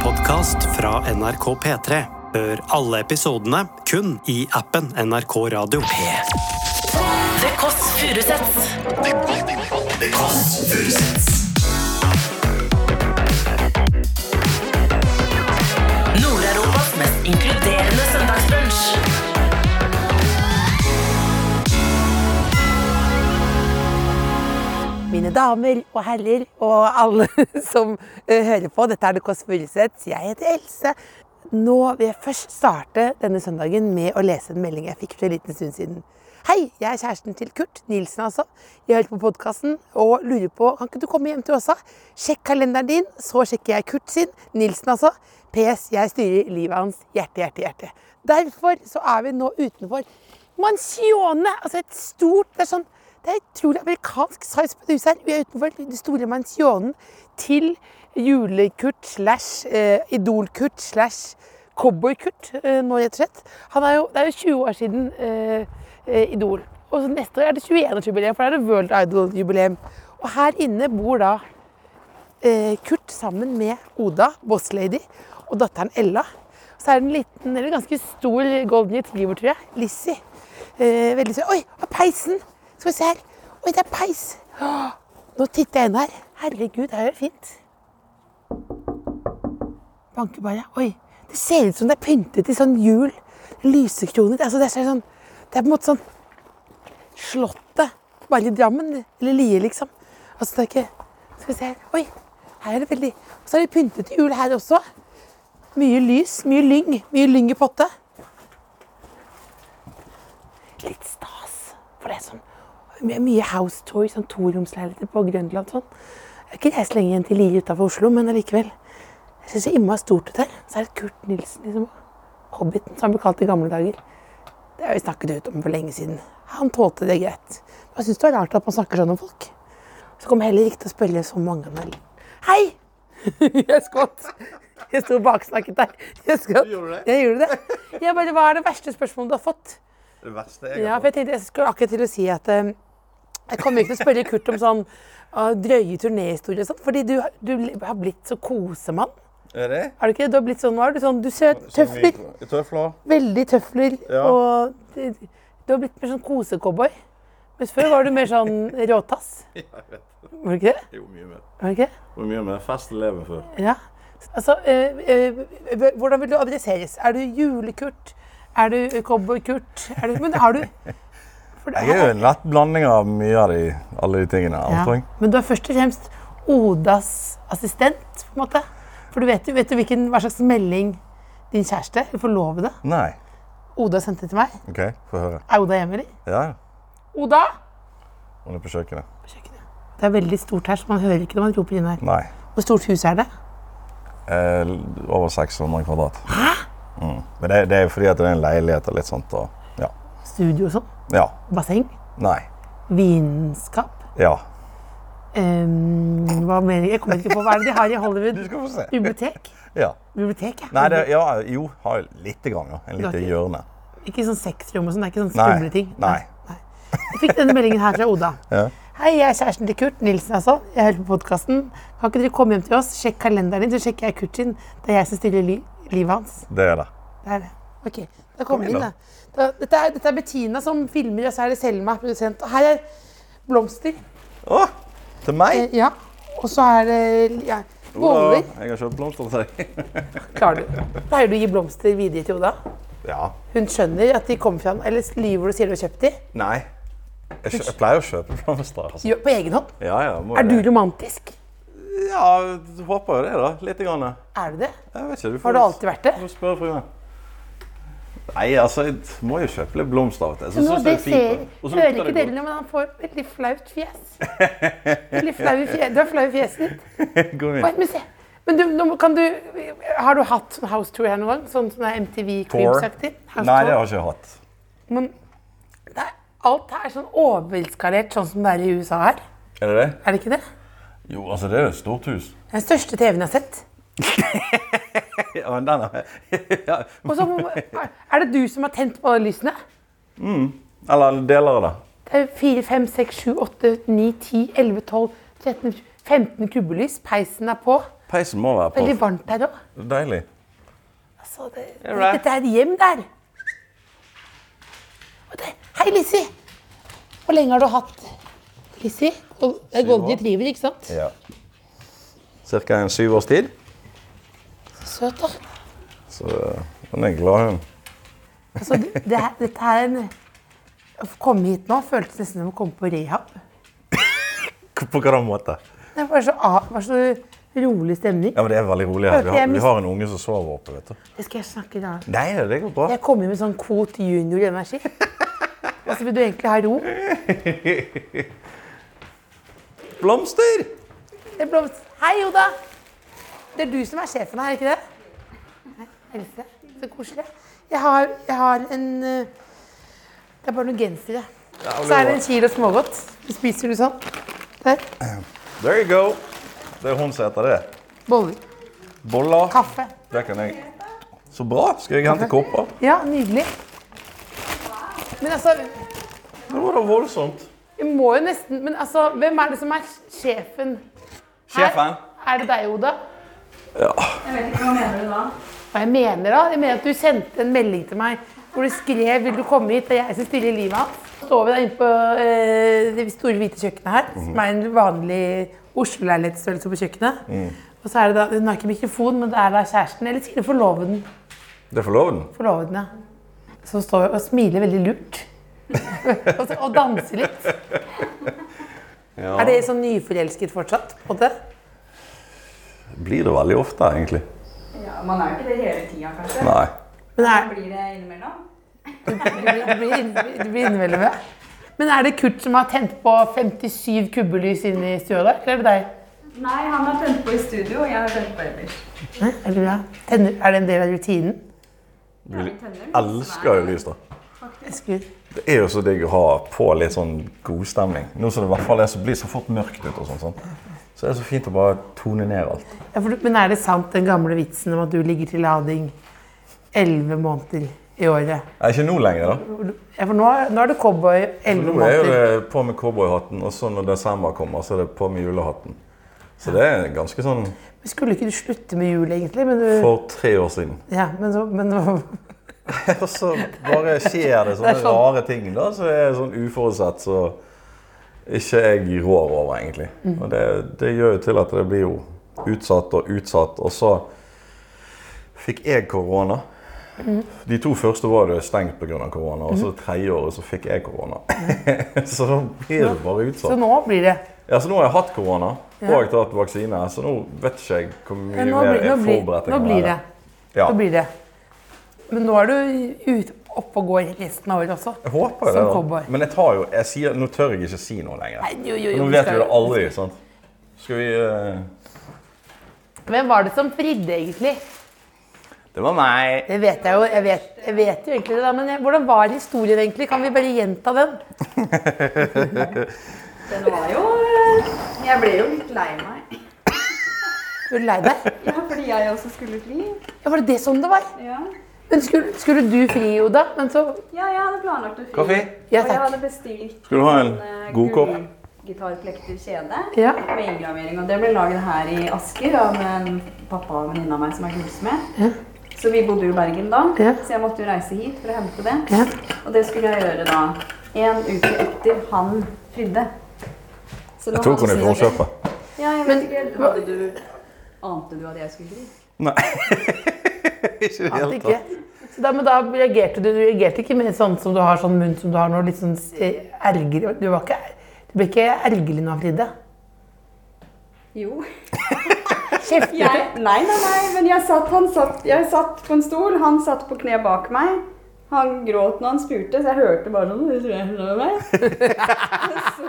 podkast fra NRK P3. Hør alle episodene kun i appen NRK Radio. The Kåss Furuseths. Nord-Europas mest inkluderende søndagsbrunsch. mine damer og herrer og alle som eh, hører på. Dette er The Kåss Furuseth. Jeg heter Else. Nå vil jeg først starte denne søndagen med å lese en melding jeg fikk for en liten stund siden. Hei, jeg er kjæresten til Kurt Nilsen, altså. Jeg hører på podkasten og lurer på Kan ikke du komme hjem til Åsa? Sjekk kalenderen din, så sjekker jeg Kurt sin. Nilsen, altså. PS. Jeg styrer livet hans. Hjerte, hjerte, hjerte. Derfor så er vi nå utenfor Mansione. Altså et stort Det er sånn det er utrolig amerikansk size på det huset her. Vi er utenfor den store mansjonen til julekurt slash eh, idolkurt slash cowboykurt eh, nå, rett og slett. Han er jo, det er jo 20 år siden eh, eh, Idol. Og så neste år er det 21-årsjubileum, for da er det World Idol-jubileum. Og her inne bor da eh, Kurt sammen med Oda, bosslady, og datteren Ella. Så er det en liten, eller ganske stor golden retriever, tror jeg. Lizzie. Eh, veldig søt. Oi, og peisen! Skal vi se her. Oi, det er peis! Åh, nå titter jeg inn her. Herregud, her er det fint. Banker bare. Oi. Det ser ut som det er pyntet i sånn jul. Lysekronet. Altså, det, er sånn, det er på en måte sånn Slottet. Bare i Drammen. Eller Lie, liksom. Altså, det er ikke Skal vi se her. Oi. Her er det veldig Og så er det pyntet til jul her også. Mye lys, mye lyng. Mye lyng i potte. Litt stas. For det er sånn my- mye house tour, sånn toromsleiligheter på Grønland sånn. Jeg har ikke reist lenge igjen til Lier utafor Oslo, men allikevel. Jeg syns det er innmari stort ut her. Så er det Kurt Nilsen, liksom. Hobbiten, som han ble kalt i gamle dager. Det har vi snakket ut om for lenge siden. Han tålte det greit. Men jeg syns det er rart at man snakker sånn om folk. Så kommer jeg heller ikke til å spørre så mange om det. Hei! Jeg skvatt. Jeg sto og baksnakket deg. Jeg skvatt. gjorde det? Jeg gjorde det. Jeg bare, Hva er det verste spørsmålet du har fått? Det verste jeg Ja, har for jeg tenkte jeg skulle akkurat til å si at eh, jeg kommer ikke til å spørre Kurt om sånn ah, drøye turnéhistorier og sånt, fordi du, du har blitt så kosemann. fått. Er det? Er du ikke det? Du har blitt sånn, nå er du sånn, du ser tøfler, Tøfler. veldig tøfler, Ja. og du, du har blitt mer sånn kosecowboy. Mens før var du mer sånn råtass. Var du ikke det? Jo, mye mer. Var du ikke det? Hvor mye mer fest lever for. Ja. Altså, eh, eh, hvordan vil du adresseres? Er du julekurt? Er du cowboykurt? Er du, men har du... for det Jeg er er- jo en lett blanding av mye av de, alle de tingene. antar jeg. Men du er først og fremst Odas assistent, på en måte. For du vet jo vet du hvilken, hva slags melding din kjæreste, eller forlovede, Nei. Oda sendte til meg. OK, få høre. Er Oda hjemme, eller? Ja, Oda! hun er på kjøkkenet. På kjøkkenet. Det er veldig stort her, så man hører ikke når man roper inn her. Nei. Hvor stort hus er det? Eh, over 600 kvadrat. Hæ? Mm. Men det, det er jo fordi at det er en leilighet og litt sånt. Og, ja. Studio og sånn? ja. Basseng? Nei. Vinskap? Ja. Ehm, hva mener jeg? Jeg kommer ikke på hva er det de har i Hollywood? Du skal få se. Bibliotek? Ja. Bibliotek, ja. Nei, det, ja, jo, har jo lite grann, ja. En lite Dere- hjørne. Ikke sånn sexrom og sånn, det er ikke sånn Nei. skumle ting. Nei. Jeg fikk denne meldingen her fra Oda. Ja. Hei, jeg er kjæresten til Kurt Nilsen, altså. Jeg hører på podkasten. Kan ikke dere komme hjem til oss? Sjekk kalenderen din, så sjekker jeg Kurt sin. Det er jeg som styrer li livet hans. Det er det. Det er det. Ok, da kommer vi inn, da. da dette, er, dette er Bettina som filmer, og så er det Selma, produsent. Og her er blomster. Å! Til meg? Eh, Ja. Og så er det ja, boller. Oda, Jeg har kjøpt blomster til deg. Klarer du Pleier du å gi blomster videre til Oda? ja. Hun skjønner at de kommer fra Eller lyver du og sier du har kjøpt de? Nei. Jeg, kjø, jeg pleier å kjøpe blomster. Altså. Jo, På egen hånd? Ja, ja, må Er jo du det. romantisk? Ja, du håper jo det, da. Litt. Grann. Er du det? Jeg vet ikke, du får... Har du alltid vært det? Du må spørre fruen. Nei, altså, jeg må jo kjøpe litt blomster av og til. Så Nå, synes det jeg er ser, fint, da. Og så hører lukter ikke det dere godt. noe, men han får et veldig flaut fjes. Veldig flau i fje- Du er flau i fjeset ditt. Gå Oi, inn. Men, se. men du, nå må- kan du, har du hatt sånn house tour her noen gang? Sånn som det er MTV Creamsaktig? Nei, det har jeg ikke hatt. Men det er, alt her er sånn overskalert, sånn som det er i USA her. Er det det? Er det ikke det? Jo, altså, det er jo et stort hus. Det er Den største TV-en jeg har sett. Ja, men den er... ja. Og så må- er det du som har tent på alle lysene. Eller deler av det. Det er 4, 5, 6, 7, 8, 9, 10, 11, 12, 13, 15 kubbelys. Peisen er på. Peisen må være Veldig på. varmt der òg. Deilig. Altså, det, right. dette er et hjem der. Og det, hei, Lissi! Hvor lenge har du hatt Lissi? Og- det er Syv Golden år. retriever, ikke sant? Ja. Cirka en syv års tid. Søt, da. Så hun er glad, hun. Altså, det, det her- dette er en Å komme hit nå føltes nesten som å komme på rehab. På hvilken måte? Det var så, a- var så rolig stemning. Ja, men Det er veldig rolig her. Vi har, vi har en unge som sover oppe. vet du. Det skal jeg snakke da. Nei, det går bra. Jeg kom inn med sånn kvot junior-energi. Og så vil du egentlig ha ro. Blomster! Det blomst... Hei, Oda! Det er du som er sjefen her, ikke det? Nei, Else. Så koselig. Jeg har, jeg har en eh, Det er bare noen gensere. Så er det en kilo smågodt. Spiser du sånn? Der. There you go. Det er hun som heter det. Boller. Boller. Kaffe. Det kan jeg. Så bra. Skal jeg hente kopper? Ja, nydelig. Men altså, Det var da voldsomt. vi må jo nesten Men altså, hvem er det som er sjefen? her? Sjefen. Er det deg, Oda? Ja. Hva jeg mener da? Jeg mener at du sendte en melding til meg hvor du skrev 'Vil du komme hit?' Det er jeg som stiller livet hans. Så står vi da inne på eh, det store hvite kjøkkenet her, som er en vanlig Oslo-leilighetsstørrelse på kjøkkenet. Og så er det da, Hun har ikke mikrofon, men det er da kjæresten, eller sikkert forloveden, Det er forloveden. forloveden, ja. som står og smiler veldig lurt. og, så, og danser litt. Ja. Er det sånn nyforelsket fortsatt? på en måte? Blir det veldig ofte, egentlig. Ja, man er jo ikke det hele tida, kanskje. Nei. Men er, Blir det innimellom? Du blir, inn- du blir innimellom, ja. Men er det Kurt som har tent på 57 kubbelys inne i stua der, eller er det deg? Nei, han har tent på i studio, og jeg har tent på ellers. Hæ? Er det, bra? Tenner, er det en del av rutinen? Jeg elsker jo lys, da. Skru. Det er jo så digg å ha på litt sånn godstemning. Nå som det i hvert fall er så blir så fort mørkt ute og sånn, sånn. Så er det så fint å bare tone ned alt. Ja, for, du- men er det sant den gamle vitsen om at du ligger til lading 11 måneder i året? Nei, ikke nå lenger, da. Ja, for nå, er- nå er du cowboy 11 Nå er jo måneder. det på med cowboyhatten, og så når desember kommer, så er det på med julehatten. Så det er ganske sånn Men Skulle ikke du slutte med jul egentlig? Men, du, for tre år siden. ja, men, så, men Og så bare skjer det Det sånne er sånn. rare ting da, som er sånn uforutsett, så ikke jeg rår over, egentlig. Mm. Og det, det gjør jo til at det blir jo utsatt og utsatt, og så fikk jeg korona. Mm. De to første var det stengt pga. korona, og så det tredje året så fikk jeg korona. så da blir det bare utsatt. Mm. så nå blir det. Ja, så nå har jeg hatt korona og tatt vaksine, så nå vet ikke jeg hvor mye Ja, nå, mer blir, nå, jeg blir, forberedt jeg nå kan blir det. være. Ja. Nå blir det. Men nå er du ute oppe og går resten av året også. Jeg håper jo Som det. da. cowboy. Men jeg tar jo, jeg sier, nå tør jeg ikke si noe lenger. Nei, jo, jo, jo, nå vi vet skal vi det jo- aldri. sant? Skal vi eh, Hvem var det som fridde, egentlig? Det var meg. Det vet jeg jo. Jeg vet, jeg vet jo egentlig det, da, men jeg, hvordan var historien egentlig? Kan vi bare gjenta den? Den var jo eh, Jeg ble jo litt lei meg. Er du lei deg? Ja, fordi jeg også skulle fly. Ja, var det det sånn det var? Ja, Men skulle, skulle du fri, Oda? Men så ja jeg hadde planlagt å fly. Kaffe? Ja, Og takk. jeg hadde bestilt Skal du ha en eh, god kopp? gullgitarplekter kjede Ja. med inngravering. Og det ble laget her i Asker av en pappa og en venninne av meg som er gullsmed. Så vi bodde jo i Bergen da, Ja. så jeg måtte jo reise hit for å hente det. Ja. Og det skulle jeg gjøre da en uke etter han fridde. Så nå Jeg tok hadde henne jeg- i Forkjøpet. Ja, jeg Men- vet ikke. Hadde du, ante du at jeg skulle fri? Nei. ikke i det Ante hele ikke. tatt. Så da, men da reagerte du, du reagerte ikke med sånn som du har sånn munn som du har nå, litt sånn eh, ergerlig Du var ikke Du ble ikke ergerlig nå, Fridde? Jo. Kjeftet Jeg, du? nei, nei, nei, men jeg satt, han satt, jeg satt på en stol, han satt på kne bak meg. Han gråt når han spurte, så jeg hørte bare sånn «Jeg tror jeg hører meg». Så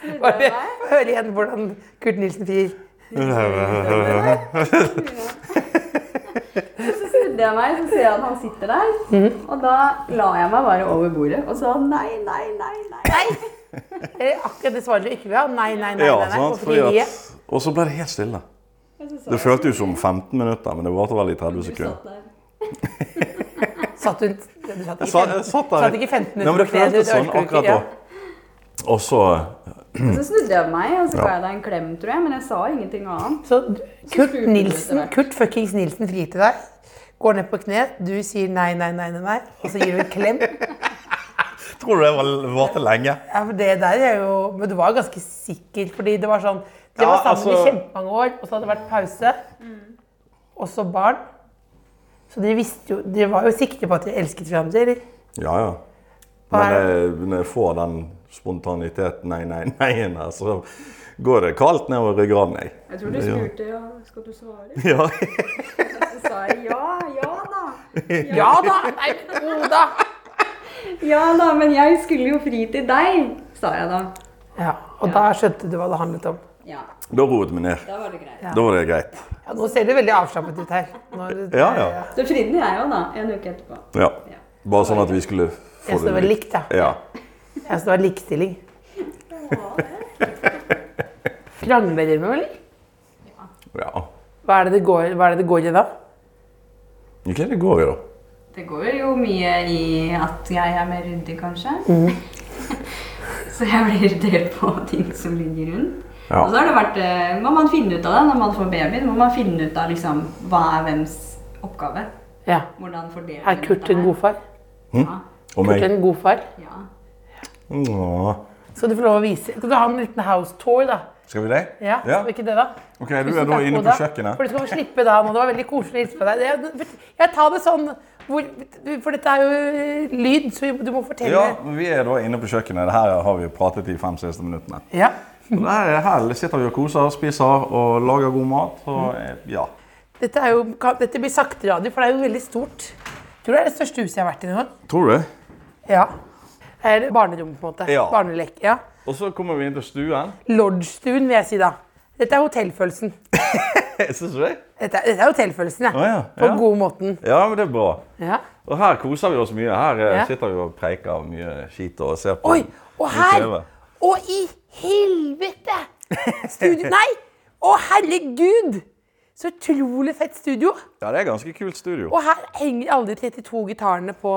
snudde Bare jeg meg. hør igjen hvordan Kurt Nilsen frir. Så snudde jeg meg, så ser jeg at han sitter der. Og da la jeg meg bare over bordet og sa nei, nei, nei, nei. Det er akkurat det svaret du ikke vil ha. Nei, nei, nei. Ja, nei, nei, sant? på Fordi frieriet. at, og så ble det helt stille. Det føltes jo som 15 minutter, men det varte vel i 30 Du satt sekunder. der. Satt hun du satt i Jeg satt, jeg fem- satt satt der. ikke 15 Nei, men minutter på det sånn kne, føltes du sånn orker ikke, akkurat da. Og så Og så snudde jeg meg, og så ga jeg deg en klem, tror jeg, men jeg sa ingenting annet. Så Kurt spurte du etter Nilsen, hvert. Kurt fuckings Nilsen frir til deg. Går ned på kne, du sier nei, nei, nei, nei, nei. Og så gir du en klem. Tror du det var- varte lenge? Ja, for det der er jo Men du var ganske sikker, fordi det var sånn Det var Ja, sammen i altså- kjempemange år, og så hadde det vært pause. Mm. Og så barn. Så de visste jo De var jo sikre på at de elsket hverandre, eller? Ja, ja. Men eh, når jeg får den spontaniteten, nei, nei, nei, her, så går det kaldt nedover ryggraden. Jeg. Jeg tror du spurte ja, skal du svare? Ja. Så sa jeg ja, ja da. eh, Ja da! Nei, jo da! Ja da, men jeg skulle jo fri til deg, sa jeg da. Ja, og da skjønte du hva det handlet om. Ja, Da roet vi ned. da var det greit. Da var det greit. Ja, nå ser du veldig avslappet ut her. Nå er det- Ja, ja. Så fridde jeg jo da, en uke etterpå. ja. Bare sånn at vi skulle få Jeg synes det var likt, ja. Ja. Jeg synes det var likestilling. Krangler dere med, eller? ja. Hva er det det går, hva er det det går i da? Ikke det går jo, da. Det går jo mye i at jeg er mer ryddig, kanskje. Mm. så jeg blir irritert på ting som ligger rundt. Ja. Og så har det vært, eh, må man finne ut av det når man får baby. Må man finne ut av liksom, hva er hvems oppgave. Ja. Hvordan fordeler Er Kurt en god far? Ja. Og Kurt meg. en god far? ja. Nå. Skal du få lov å vise? Skal du ha en liten house tour, da? Skal vi det? Ja, ja. Skal vi ikke det, da? Ok, du Tusen er da takk, inne Oda, på kjøkkenet. For du skal få slippe da nå. Det var veldig koselig å hilse på deg. Jeg, jeg tar det sånn hvor, For dette er jo eh, lyd, så du må fortelle. Ja, vi er da inne på kjøkkenet. Det her har vi jo pratet i fem siste minuttene. Ja. Og der, her sitter vi og koser, spiser og lager god mat. Og eh, Mm. ja. Dette, er jo, ka- dette blir sakte radio, for det er jo veldig stort. Tror du det er det største huset jeg har vært i noen gang? Tror du det? Ja. Det er barnerommet, på en måte. Ja. Barnelek. Ja. Og så kommer vi inn til stuen. Lodgestuen, vil jeg si da. Dette er hotellfølelsen. Syns du det? Dette er, dette er hotellfølelsen, ja. Å, ja, På ja. god måten. Ja, men det er bra. Ja. Og her koser vi oss mye. Her eh, Ja. sitter vi og preiker mye skit og ser på Oi, og mye her! TV. Og i helvete! Studio Nei! Å, herregud! Så utrolig fett studio. Ja, det er ganske kult studio. Og her henger alle de 32 gitarene på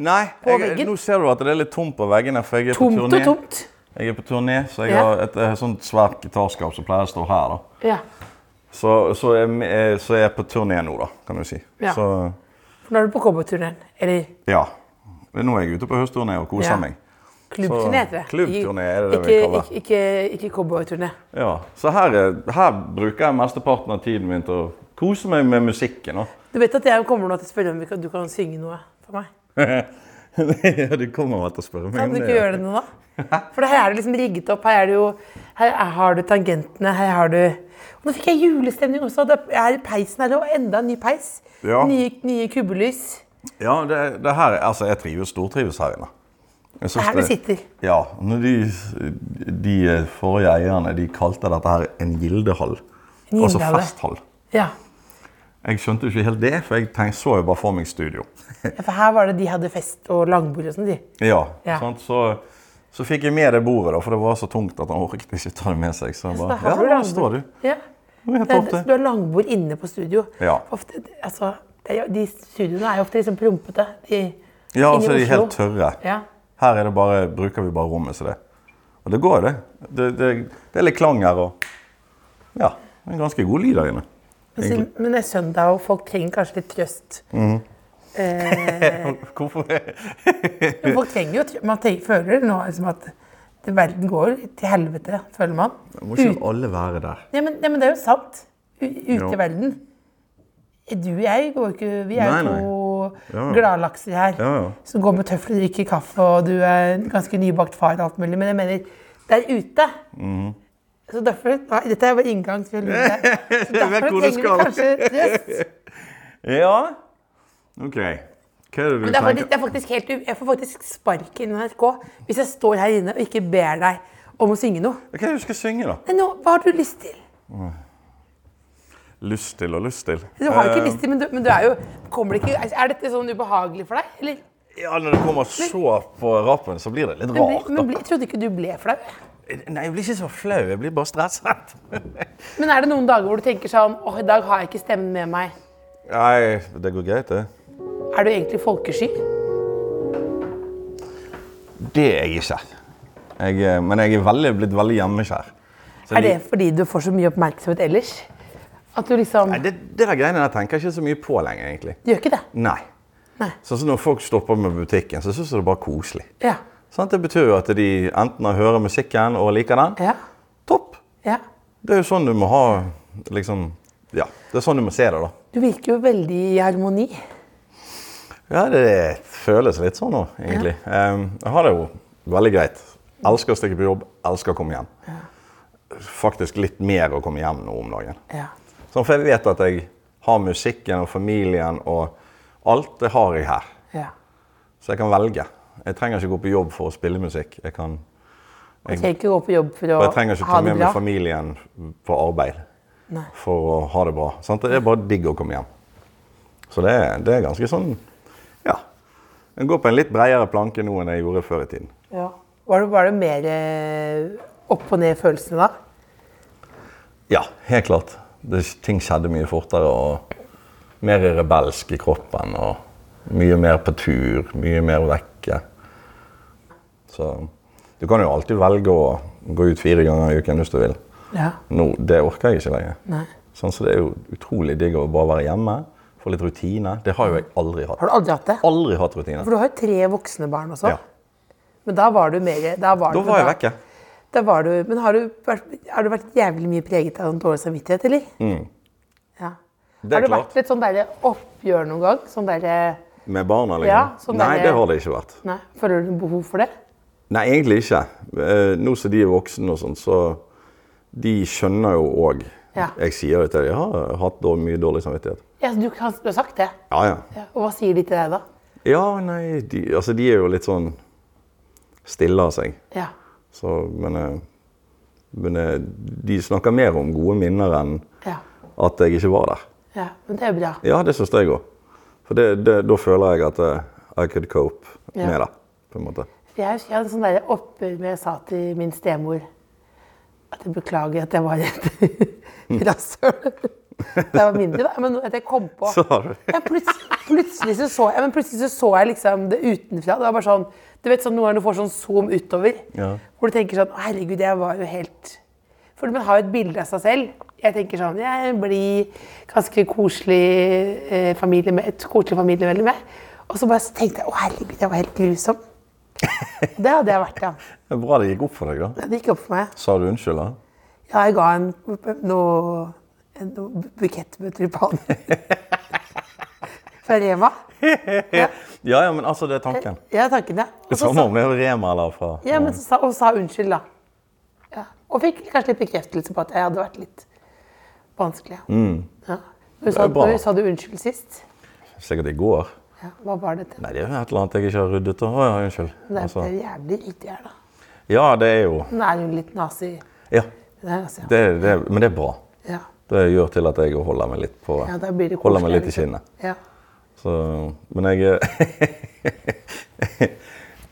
Nei, på jeg, veggen. nå ser du at det er litt tomt på veggene, for jeg er Tomt på og turné. tomt. Jeg er på turné, så jeg Ja. har et, eh, sånt svært gitarskap som pleier å stå her. da. Ja. Så, så, jeg, eh, så jeg er på turné nå, da, kan du si. Ja. Så For nå er du på cowboyturneen. Eller ja. Men Nå er jeg ute på høstturné og koser Ja. meg. Så, klubbturné, heter det. klubbturné er det det vi ikke, kaller. ikke, ikke, ikke cowboyturné. Ja. Så her, er- her bruker jeg mesteparten av tiden min til å kose meg med musikken. da. Du vet at jeg kommer nå til å spørre om vi kan- du kan synge noe for meg? ja, du kommer vel til å spørre meg Kan du ikke gjøre det nå, da? For her er det liksom rigget opp. Her, er det jo, her er- har du tangentene, her har du og Nå fikk jeg julestemning også. Det er peisen her, og enda en ny peis. Ja. Nye, nye kubbelys. Ja, det, det her, altså, jeg trives stortrives her inne. Jeg Det syns er her du sitter. Ja. Når de, de forrige eierne de kalte dette her en gildehall. En Altså gildehalle. festhall. Ja. Jeg skjønte jo ikke helt det, for jeg tenkte, så jo bare for meg studio. Ja, For her var det de hadde fest og langbord og sånn, de. Ja, Ja. Sant? Så, så fikk jeg med det bordet, da, for det var så tungt at han orket ikke ta det med seg. Så jeg Så bare, da har ja, du der langbord. står du. Ja. Det var helt Det er- topp, det. Du har langbord inne på studio. Ja. Ofte, altså, det er jo, de studioene er jo ofte liksom prompete. De, Ja, Inne i så de er helt Oslo. tørre. Ja. Her er det bare, bruker vi bare rommet til det. Og det går jo, det. Det, det. det er litt klang her og Ja. det er En ganske god lyd der inne. altså, men det er søndag, og folk trenger kanskje litt trøst. Hvorfor Men folk trenger jo, man tenker, føler nå liksom at det- verden går til helvete, føler man. Må Mm. ikke alle være der? Nei, men, nei, men det er jo sant. U ute Jo. i verden. Du og jeg går jo ikke Vi er Nei, jo nei. to Ja, ja. gladlakser her Ja, ja. som går med tøfler og drikker kaffe, og du er en ganske nybakt far og alt mulig, men jeg mener der ute Mhm. Så derfor nei, Dette er vår inngang til livet. Så derfor hvor trenger du skal. vi kanskje trøst. Ja? OK. Hva er det du Men det er, faktisk, det er tenker? faktisk helt u Jeg får faktisk spark i NRK hvis jeg står her inne og ikke ber deg om å synge noe. Hva er det du skal synge, da? Nei, nå, hva har du lyst til? Lyst til og lyst til. Du har jo ikke lyst til, men du, men du er jo kommer det ikke, Er dette sånn ubehagelig for deg? Eller? Ja, Når det kommer så på rappen, så blir det litt Men, bli- rart. men da. bli, jeg trodde ikke du ble flau. Nei, Jeg blir ikke så flau, jeg blir bare stresset. Men er det noen dager hvor du tenker sånn åh, i dag har jeg ikke stemmen med meg. Nei, det går greit, det. Er du egentlig folkesky? Det er jeg ikke. Jeg, er- men jeg er veldig, blitt veldig hjemmekjær. Så Er det jeg- fordi du får så mye oppmerksomhet ellers? At du liksom Nei, det, det der greiene der tenker jeg ikke så mye på lenger, egentlig. Du gjør ikke det? Nei. Nei. Sånn som når folk stopper med butikken, så syns jeg det er bare koselig. Ja. Sant? det betyr jo at de enten hører musikken og liker den. Ja. Topp! ja. Det er jo sånn du må ha liksom, Ja, det er sånn du må se det, da. Du virker jo veldig i harmoni. Ja, det føles litt sånn nå, egentlig. Em, Jeg har det jo veldig greit. Elsker å stikke på jobb, elsker å komme hjem. Faktisk litt mer å komme hjem nå om dagen. Ja. Sånn, for jeg vet at jeg har musikken og familien og alt det har jeg her. ja. Så jeg kan velge. Jeg trenger ikke gå på jobb for å spille musikk. Jeg, kan, Du trenger ikke gå på jobb for å og jeg trenger ikke ha ta det med meg bra. familien på arbeid Nei. for å ha det bra. Sant? Det er bare digg å komme hjem. Så det er, det er ganske sånn Ja. Jeg går på en litt bredere planke nå enn jeg gjorde før i tiden. Ja. Var, det, var det mer eh, opp og ned-følelsene da? Ja, helt klart. Det, ting skjedde mye fortere og mer rebelsk i kroppen. Og mye mer på tur, mye mer vekke. Så du kan jo alltid velge å gå ut fire ganger i uken hvis du vil. Ja. Nå, det orker jeg ikke lenger. Nei. Sånn, så det er jo utrolig digg å bare være hjemme, få litt rutine. Det har jo jeg aldri hatt. Har du aldri hatt det? Aldri hatt rutine. For du har jo tre voksne barn også. Ja. Men da var du mer Da var, Da du, var jeg vekke. Da var du, men har du, vært, har du vært jævlig mye preget av en dårlig samvittighet, eller? Ja. Mm. Det er har det klart. vært et sånn derre oppgjør noen gang? Sånn derre Med barna, liksom? Ja, sånn Nei, der- det har det ikke vært. Nei, føler du behov for det? Nei, egentlig ikke. Eh, Nå som de er voksne og sånn, så De skjønner jo òg Ja. Jeg sier det til dem. Jeg har hatt da mye dårlig samvittighet. Ja, du, kan, du har sagt det. Ja, ja. Ja. Og hva sier de til deg da? Ja, nei, de, altså, de er jo litt sånn stille av seg. Ja. Så, men eh, men eh, de snakker mer om gode minner enn Ja. at jeg ikke var der. ja. Men det er jo bra. Ja, det syns jeg òg. For det, det, da føler jeg at eh, I could cope Ja. med det. på en måte. Jeg husker jeg hadde en sånn derre oppgjør med jeg sa til min stemor at jeg beklager at jeg var et rasshøl. Da jeg var mindre, da. Men at jeg kom på Så har du ja, plutselig, plutselig, så så jeg, men plutselig så så jeg liksom det utenfra. Det var bare sånn, du vet sånn, Noen ganger du får sånn zoom utover. Ja. Hvor du tenker sånn «Å, Herregud, jeg var jo helt For man har jo et bilde av seg selv. Jeg tenker sånn Jeg blir ganske koselig eh, familie med, et koselig familiemedlem. jeg». Og så bare så tenkte jeg å herregud, jeg var helt grusom. Det hadde jeg vært, ja. Det er Bra det gikk opp for deg, da. Det gikk opp for meg. Sa du unnskyld, da? Ja, jeg ga en noe, en noe bukett med tulipaner. Fra Rema. Ja, ja, men altså, det er tanken. Ja, tanken, ja. Eh, Og Det så samme om det er Rema eller fra Ja, men så sa, og sa unnskyld, da. Ja. Og fikk kanskje litt bekreftelse på at jeg hadde vært litt vanskelig. ja. Ja. Når, du sa, Mm. er bra. når du sa du unnskyld sist, Sikkert i går. ja, hva var det til? Nei, det er jo et eller annet jeg ikke har ryddet. Å ja, unnskyld. Det er Altså, det er jævlig riktig her, da. ja, det er jo Nå er hun litt nazi. Ja. Det er nazi, ja. Det, det, men det er bra. Ja. Det gjør til at jeg holder meg litt på ja, da blir det Holder meg koselig, litt i liksom. kinnet. Ja. Så, men jeg er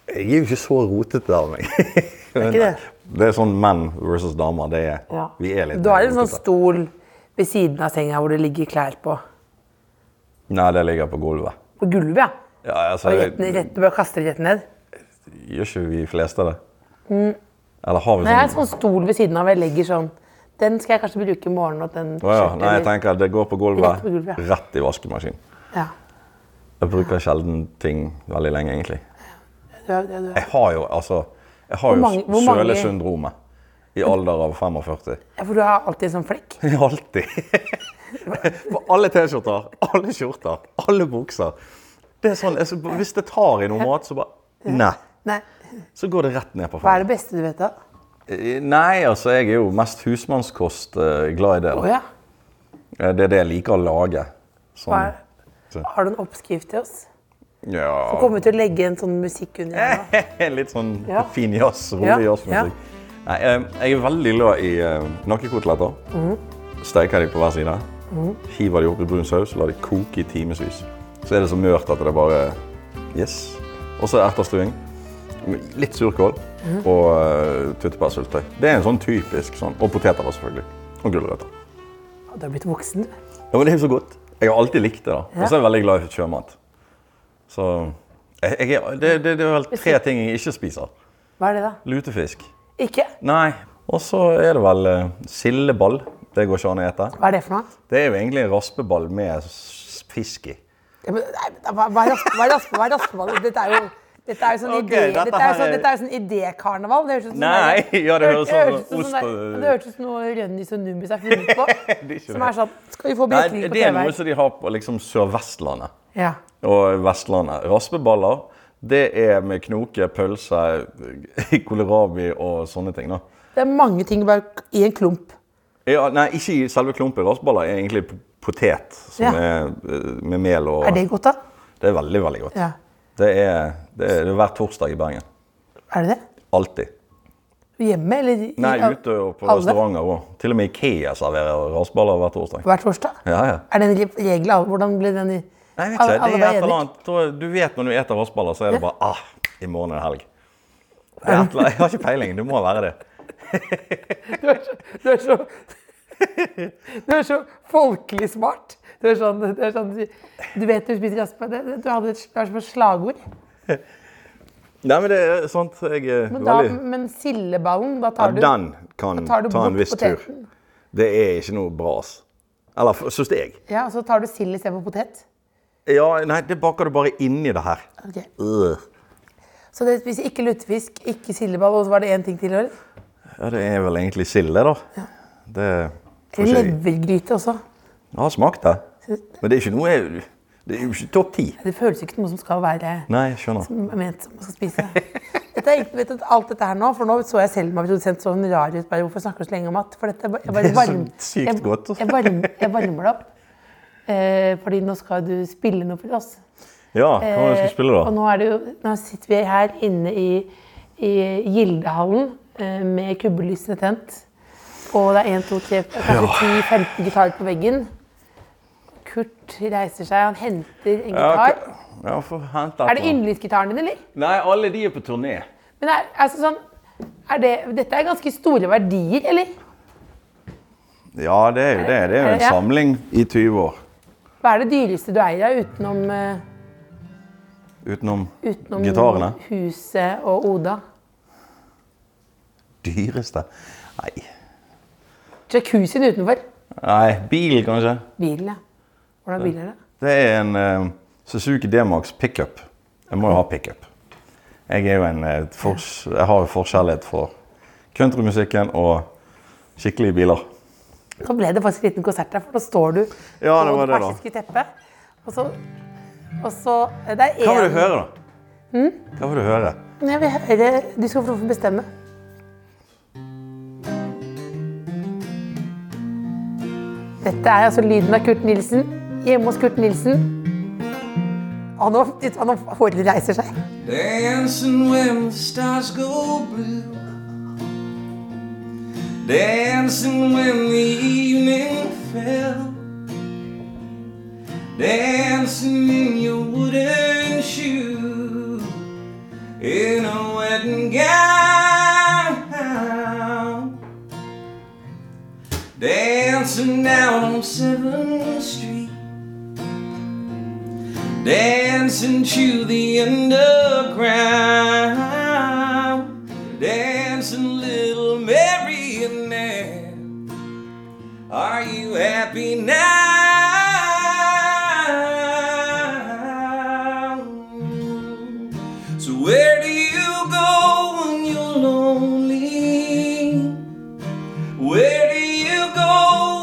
Jeg er jo ikke så rotete av meg. Det ikke det. Det er sånn menn versus damer. Det er, Ja. Vi er litt Du har en mer sånn stol ved siden av senga hvor det ligger klær på. Nei, det ligger på gulvet. På gulvet, ja. Ja, altså, Og jeg, rett, ned- rett, bare kaster det rett ned. gjør ikke vi fleste det? Eller har vi Mm. Nei, jeg har en sånn sånn stol ved siden av jeg legger sånn Den skal jeg kanskje bruke i morgen. Og den Å ja. skjorten, Nei, jeg eller- tenker at det går på Rett gulvet, på gulvet, ja. rett i vaskemaskinen. ja. Jeg bruker sjelden ting veldig lenge, egentlig. Du er, du er, du er. Jeg har jo altså Jeg har Hvor mange- jo hvor mange- sølesyndromet. I alder av 45. Ja, For du har alltid en sånn flekk. Alltid. På alle T-skjorter, alle skjorter, alle bukser. Det er sånn, jeg, så- hvis det tar i noe mat, så bare Nei. Nei. Så går det rett ned på Hva er det beste du vet, da? fanget. Nei, altså, jeg er jo mest husmannskost eh, glad i det. Å da. ja. Eh, Det er det jeg liker å lage. Hva Sånn, er, har du en oppskrift til oss? Du ja, kommer til å legge en sånn musikk under Eh. her nå. litt sånn Ja. fin jazz, rolig Ja, ja. jazzmusikk. Nei, eh, jeg er veldig glad i eh, nakkekoteletter. Mhm. Steker de på hver side. Hiver de opp i brun saus og lar de koke i timevis. Så er det så mørt at det bare Yes. Og så ertestuing. Litt surkål Mhm. og uh, tyttebærsyltetøy. Det er en sånn typisk sånn. Og poteter, da, selvfølgelig. Og gulrøtter. Du har blitt voksen, du. Ja, men det er jo så godt. Jeg har alltid likt det. da. Og så er jeg veldig glad i eh, sjømat. Så jeg, jeg, er- det, det, det er vel tre ting jeg ikke spiser. Hva er det, da? Lutefisk. Ikke? Nei. Og så er det vel eh, sildeball. Det går ikke an å ete. Hva er det for noe? Det er jo egentlig en raspeball med s- fisk i. Ja, men, nei, men da- hva, hva er raspe- hva er raspe- hva er raspeball? Dette er jo dette er jo sånn Ok, idé, dette dette er jo her sånn, er- dette er jo sånn idékarneval. Det høres ut som Nei, sånn der- ja, det høres det høres sånn ut som ost sånn og- der- Det høres ut som noe Rønnis og Numis har funnet på. som er sånn Skal vi få Nei, brekning på det er noe TV? som de har på liksom Sør-Vestlandet Ja. og Vestlandet. Raspeballer, det er med knoke, pølse, kålrabi og sånne ting. da. Det er mange ting bare i en klump. Ja, nei, ikke i selve klumpen. Raspeballer er egentlig p- potet som Ja. er eh, med mel og Er det godt, da? Det er veldig, veldig godt. Ja. Det, er, det, er, det er hver torsdag i Bergen. Er det det? Alltid. Hjemme, eller? i- Nei, ute og på Alle? restauranter òg. Til og med Ikea serverer rasballer hver torsdag. Hver torsdag? Ja, ja. Er det en re- regel? av- Hvordan ble den i Nei, jeg vet Alle- ikke. alle Det bare er et eller enig? annet. Da- Du vet når du eter rasballer, så er det bare ah, i morgen er det helg. Det er et eller annet. Jeg har ikke peiling. Det må være det. Du er så, du er så, du er så folkelig smart. Du er sånn, du, er sånn, du vet du spiser raspe. Det, det- du hadde et, det er som et slagord. Nei, men det er sånt jeg er Men, da, veldig men sildeballen, da ja, tar du Den kan da ta tar du en bort viss tur. poteten. Det er ikke noe bras. Eller syns jeg. Ja, og så tar du sild istedenfor potet. Ja, nei, det baker du bare inni det her. Ok. Øh. Så dere spiser ikke lutefisk, ikke sildeball, og så var det én ting til? eller? Ja, det er vel egentlig sild, det, da. Det får ikke jeg. Levergryte også. Jeg har smakt det. Men det er ikke noe jeg Det er jo ikke topp ti. Det føles jo ikke som noe som skal være Nei, jeg skjønner. ment som man skal spise. Dette er, vet du, alt dette her nå, for nå så jeg selv meg produsent sånn rar ut. Bare, hvorfor snakker du så lenge om mat? For dette, jeg bare Det er så varm, sykt jeg, godt. altså. jeg, varm, jeg varmer det opp. Eh, fordi nå skal du spille noe for oss. Eh, Ja, hva var det jeg skulle spille, Og da? nå, er det jo, nå sitter vi her inne i, i Gildehallen eh, med kubbelysene tent. Og det er 1, 2, 3, kanskje 10-15 gitarer på veggen. Kurt reiser seg, han henter en Ja, gitar. ok. Ja, få Er hente det et eller annet. yndlingsgitaren din, eller? Nei, alle de er på turné. Men er, altså sånn, er det, dette er ganske store verdier, eller? Ja, det er jo det. Det er jo en Ja. samling i 20 år. Hva er det dyreste du eier av utenom, eh, Utenom utenom gitarene. huset og Oda? Dyreste Nei. Jacuzzien utenfor? Nei, bilen kanskje. Bilen, ja. Hvordan bil er det? Det er en eh, Suzuki D-Max pickup. Jeg må jo ha pickup. Jeg er jo en eh, fors Jeg har jo forkjærlighet for countrymusikken og skikkelige biler. Nå ble det faktisk en liten konsert der, for nå står du Ja, det på var det det da. persiske teppet. Og så, og så eh, Det er Hva vil du en- høre, da? Hmm? Hva vil du høre? Jeg vil høre Du skal få lov til å bestemme. Dette er altså lyden av Kurt Nilsen. Hjemme hos Kurt Nilsen. Han, nå- han nå- håret reiser seg. Dancing when the stars go blue. Dancing when the evening fell. Dancing in your wooden shoe. In a wedding gown. Dancing down on 7th Street dancing to the underground, dancing little marionette. Are you happy now? So where do you go when you're lonely? Where do you go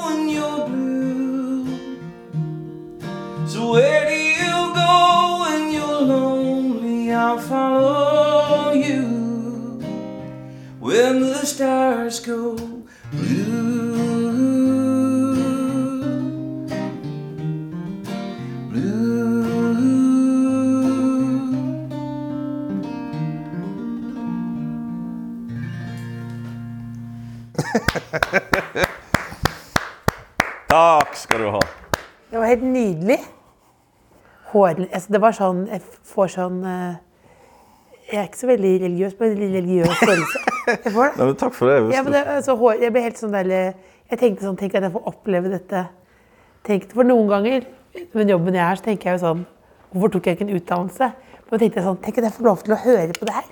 when you're blue? So where do you go when you're lonely? I'll follow you when the stars go blue. Blue. Takk skal du ha. Det var helt nydelig. Hår, altså det var sånn Jeg får sånn eh, Jeg er ikke så veldig religiøs, men en litt religiøs følelse. Jeg får det. Nei, men takk for det. Ja, men det, altså, hår, jeg ble helt sånn der Jeg tenkte sånn, tenk at jeg får oppleve dette. Tenkte, for noen ganger med jobben jeg er, så tenker jeg jo sånn Hvorfor tok jeg ikke en utdannelse? Men tenkte jeg sånn, tenk at jeg får lov til å høre på det her.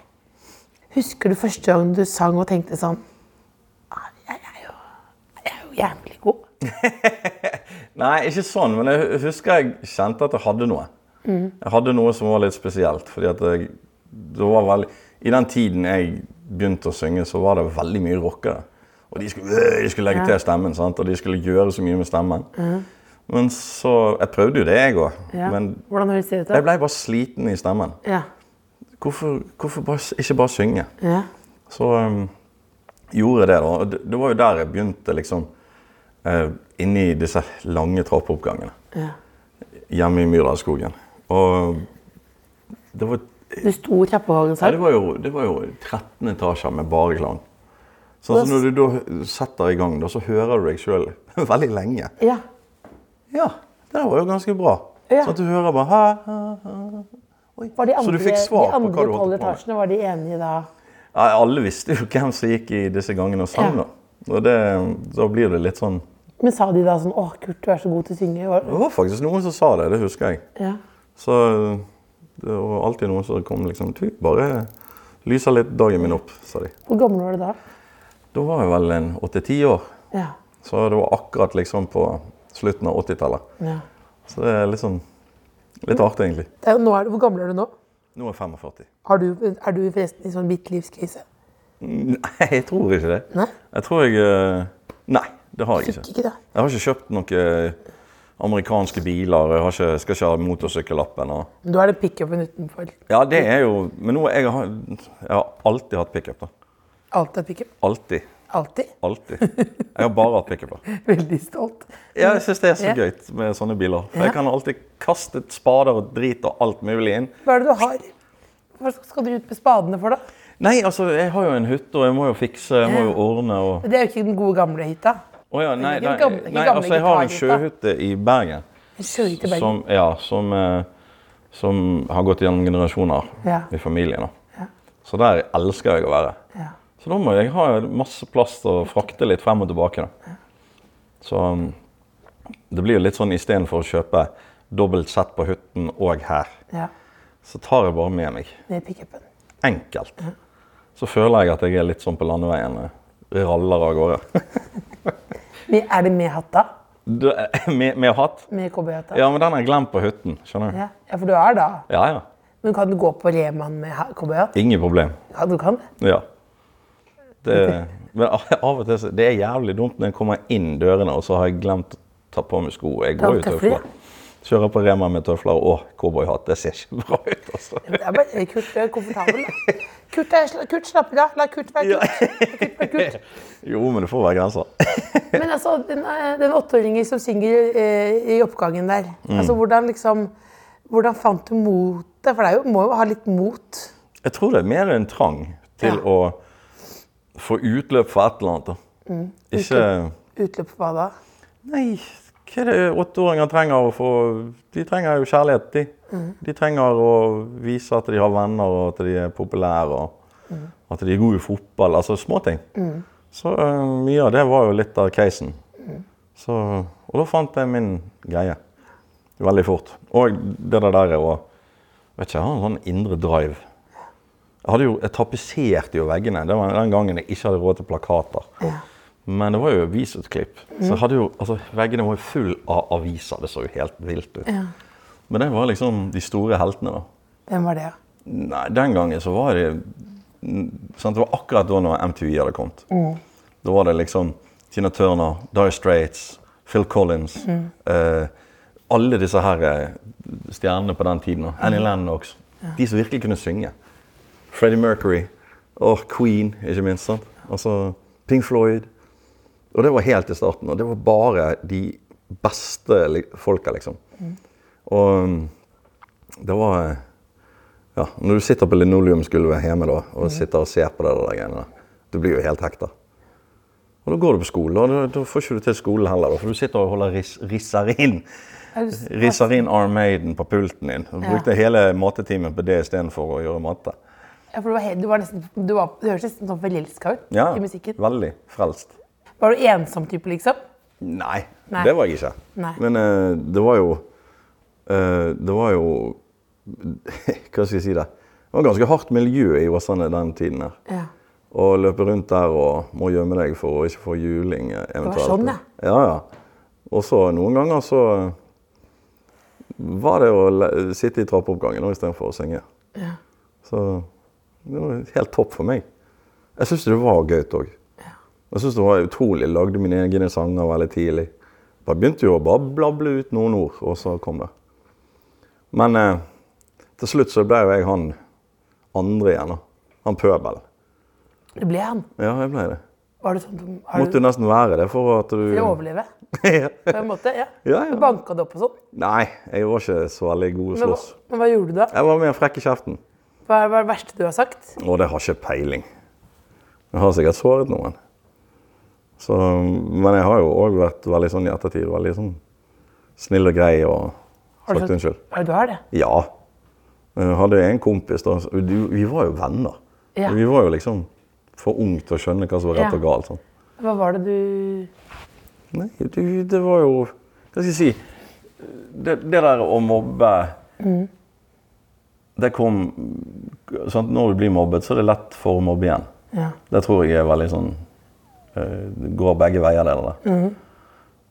Husker du første gang du sang og tenkte sånn «Ah, Jeg er jo, jeg er jo jævlig god. Nei, ikke sånn, men jeg husker jeg kjente at jeg hadde noe. Mm. Jeg hadde noe som var litt spesielt. fordi at jeg, det var veldig, I den tiden jeg begynte å synge, så var det veldig mye rockere. Og de skulle, øh, de skulle legge til stemmen, sant? og de skulle gjøre så mye med stemmen. Men så Jeg prøvde jo det, jeg òg. Ja. Men Hvordan høres det ut? jeg da? blei bare sliten i stemmen. Ja. Hvorfor, hvorfor bare, s- ikke bare synge? Ja. Så um, gjorde jeg det, da. Og det, det var jo der jeg begynte, liksom. eh, inni disse lange trappeoppgangene ja. hjemme i Myrdalsskogen. Og um, det var, Du sto i Trappehagen nei, selv? det var, jo, det var jo 13 etasjer med bare klang. Sånn som når du da setter i gang, da, så hører du deg sjøl veldig lenge. Ja. Ja, det der var jo ganske bra. Ja. Sånn at du hører bare ha, ha, ha. Oi. Var de andre, så du fikk svar de på andre hva du tolv holdt på med. etasjene, var de enige da? Nei, alle visste jo hvem som gikk i disse gangene og sang, Ja. da. Og det, da blir det litt sånn Men sa de da sånn 'Å, Kurt, du er så god til å synge'? Var- Det var faktisk noen som sa det, det husker jeg. Ja. Så det var alltid noen som kom liksom Du, bare lyser litt dagen min opp, sa de. Hvor gammel var du da? Da var jeg vel en åtte-ti år. Ja. Så det var akkurat liksom på slutten av 80-tallet. ja. Så det er litt sånn Litt artig, egentlig. Det er, jo- nå er, du- hvor gammel er du nå? Nå er jeg 45. Har du, er du forresten i sånn mitt livskrise? Nei, jeg tror ikke det. Mm. Nei? Jeg tror jeg eh, Nei, det har jeg Fikk ikke. ikke det. Jeg har ikke kjøpt noen eh, amerikanske biler. Jeg har ikke, skal ikke ha motorsykkellappen. Og... Men du er den pickupen utenfor. Ja, det er jo Men nå jeg har jeg har alltid hatt pickup. da. Alt er pickup. Alltid. Alltid. Alltid. Jeg har bare hatt pickuper. Veldig stolt. Ja, jeg syns det er så Ja. gøy med sånne biler. For Ja. jeg kan alltid kaste spader og drit og alt mulig inn. Hva er det du har? Hva skal du ut med spadene for, da? Nei, altså, jeg har jo en hytte, og jeg må jo fikse, jeg må jo ordne og Men Det er jo ikke den gode gamle hytta. Å ja, Det nei, er nei, ikke gamle- det er ikke nei, gamle altså, jeg har en gitarhytta. sjøhytte i Bergen Jeg skjønner ikke Bergen. som, ja, som, eh, som har gått gjennom generasjoner Ja. i familien. Da. Så der elsker jeg å være. Ja. Så da må jeg ha masse plass til å frakte litt frem og tilbake. Da. Så um, det blir jo litt sånn istedenfor å kjøpe dobbelt sett på hytten og her. Ja. så tar jeg bare med meg. Ned i pickupen. Enkelt. Så føler jeg at jeg er litt sånn på landeveien. eh, Raller av gårde. Men Er det med hatta? Det- eh, med, med hatt? Med cowboyhatta? Ja, men den har jeg glemt på hytten. Skjønner du? Ja. ja, for du er da. Ja, ja. Men kan du gå på Reman med ha- cowboyhatt? Ingen problem. Ja, du kan det. Ja. Det, men av og til så Det er jævlig dumt når jeg kommer inn dørene, og så har jeg glemt å ta på meg sko. Jeg Ta går jo tøfler, ja. tøfler. Kjører på Rema med tøfler og cowboyhatt. Det ser ikke bra ut, altså. Det er bare Kurt er komfortabel. da. Kurt, er, sla- Kurt slapper av. La Kurt være Kurt. La Kurt være Kurt. Jo, men det får være grenser. Men altså, den, eh, den åtteåringen som synger eh, i oppgangen der, Mm. altså hvordan liksom Hvordan fant du motet? For det er jo, må jo ha litt mot. Jeg tror det er mer en trang til Ja. å få utløp for et eller annet. Da. Ikke Mm, Utløp for hva da? Nei, hva er det åtteåringer trenger å få De trenger jo kjærlighet, de. Mm. De trenger å vise at de har venner, og at de er populære, og at de er gode i fotball. Altså småting. Så øh, mye av det var jo litt av casen. Så, og da fant jeg min greie. Veldig fort. Og det der der er å Vet ikke, jeg har en sånn indre drive. Jeg, hadde jo, jeg tapetserte jo veggene. Det var den gangen jeg ikke hadde råd til plakater. Men det var jo avisutklipp. Så jeg hadde jo, altså, veggene var jo full av aviser. Det så jo helt vilt ut. Men det var liksom de store heltene, da. Hvem var det? da? Nei, den gangen så var det sant, Det var akkurat da når MTV hadde kommet. Da var det liksom Tina Turner, Dye Straits, Phil Collins eh, Alle disse her eh, stjernene på den tiden. da. Annie Lennox. De som virkelig kunne synge. Freddie Mercury og Queen, ikke minst. sant? Altså Pink Floyd. Og det var helt i starten. Og det var bare de beste li- folka, liksom. Og mm, det var eh, ja, når du sitter på linoleumsgulvet hjemme da, Mm. og sitter og ser på det der greiene der, du blir jo helt hekta. Og da går du på skolen, og da, da får ikke du til skolen heller, da, for du sitter og holder ris risarin. Er du s- Risarin Arm Maiden på pulten din. Du brukte hele mattetimen på det istedenfor å gjøre matte. Ja, for du, var helt, du, var nesten, du, var, du høres nesten sånn forelska ut Ja, i musikken. veldig frelst. Var du ensom type, liksom? Nei, Nei. det var jeg ikke. Nei. Men eh, det var jo eh, Det var jo Hva skal jeg si det? Det var ganske hardt miljø i Åsane den tiden her. Ja. Å løpe rundt der og må gjemme deg for å ikke få juling eh, eventuelt. sånn, ja. Ja, ja. Og så noen ganger så var det å le- sitte i trappeoppgangen også istedenfor å synge. Så det var helt topp for meg. Jeg syns det var gøy òg. Jeg synes det var utrolig. Jeg lagde mine egne sanger veldig tidlig. Da begynte jo å bare blable ut noen ord, og så kom det. Men eh, til slutt så ble jo jeg han andre igjen, da. Han pøbel. Det ble han. Ja, jeg ble det. Var det sånn du, har Måtte du jo nesten være det for at du for å overleve? På en måte, ja. Ja, ja. Du banka det opp og sånn. Nei, jeg var ikke så veldig god å Men hva, slåss. men hva gjorde du da? Jeg var mer frekk i kjeften. Hva er hva er det verste du har sagt? Og det har ikke peiling. Jeg har sikkert såret noen. Så, men jeg har jo òg vært veldig sånn i ettertid veldig sånn snill og grei og Har du sagt unnskyld. Ja, du har det. Ja. Jeg hadde en kompis da, så- du- Vi var jo venner. Ja. Vi var jo liksom for unge til å skjønne hva som var rett Ja. og galt. Sånn. Hva var det du Nei, du, det var jo Hva skal jeg si? Det, det der å mobbe Mm. Det kom sant? Når du blir mobbet, så er det lett for å mobbe igjen. Ja. Det tror jeg er veldig sånn eh, Det går begge veier, det der. Mm.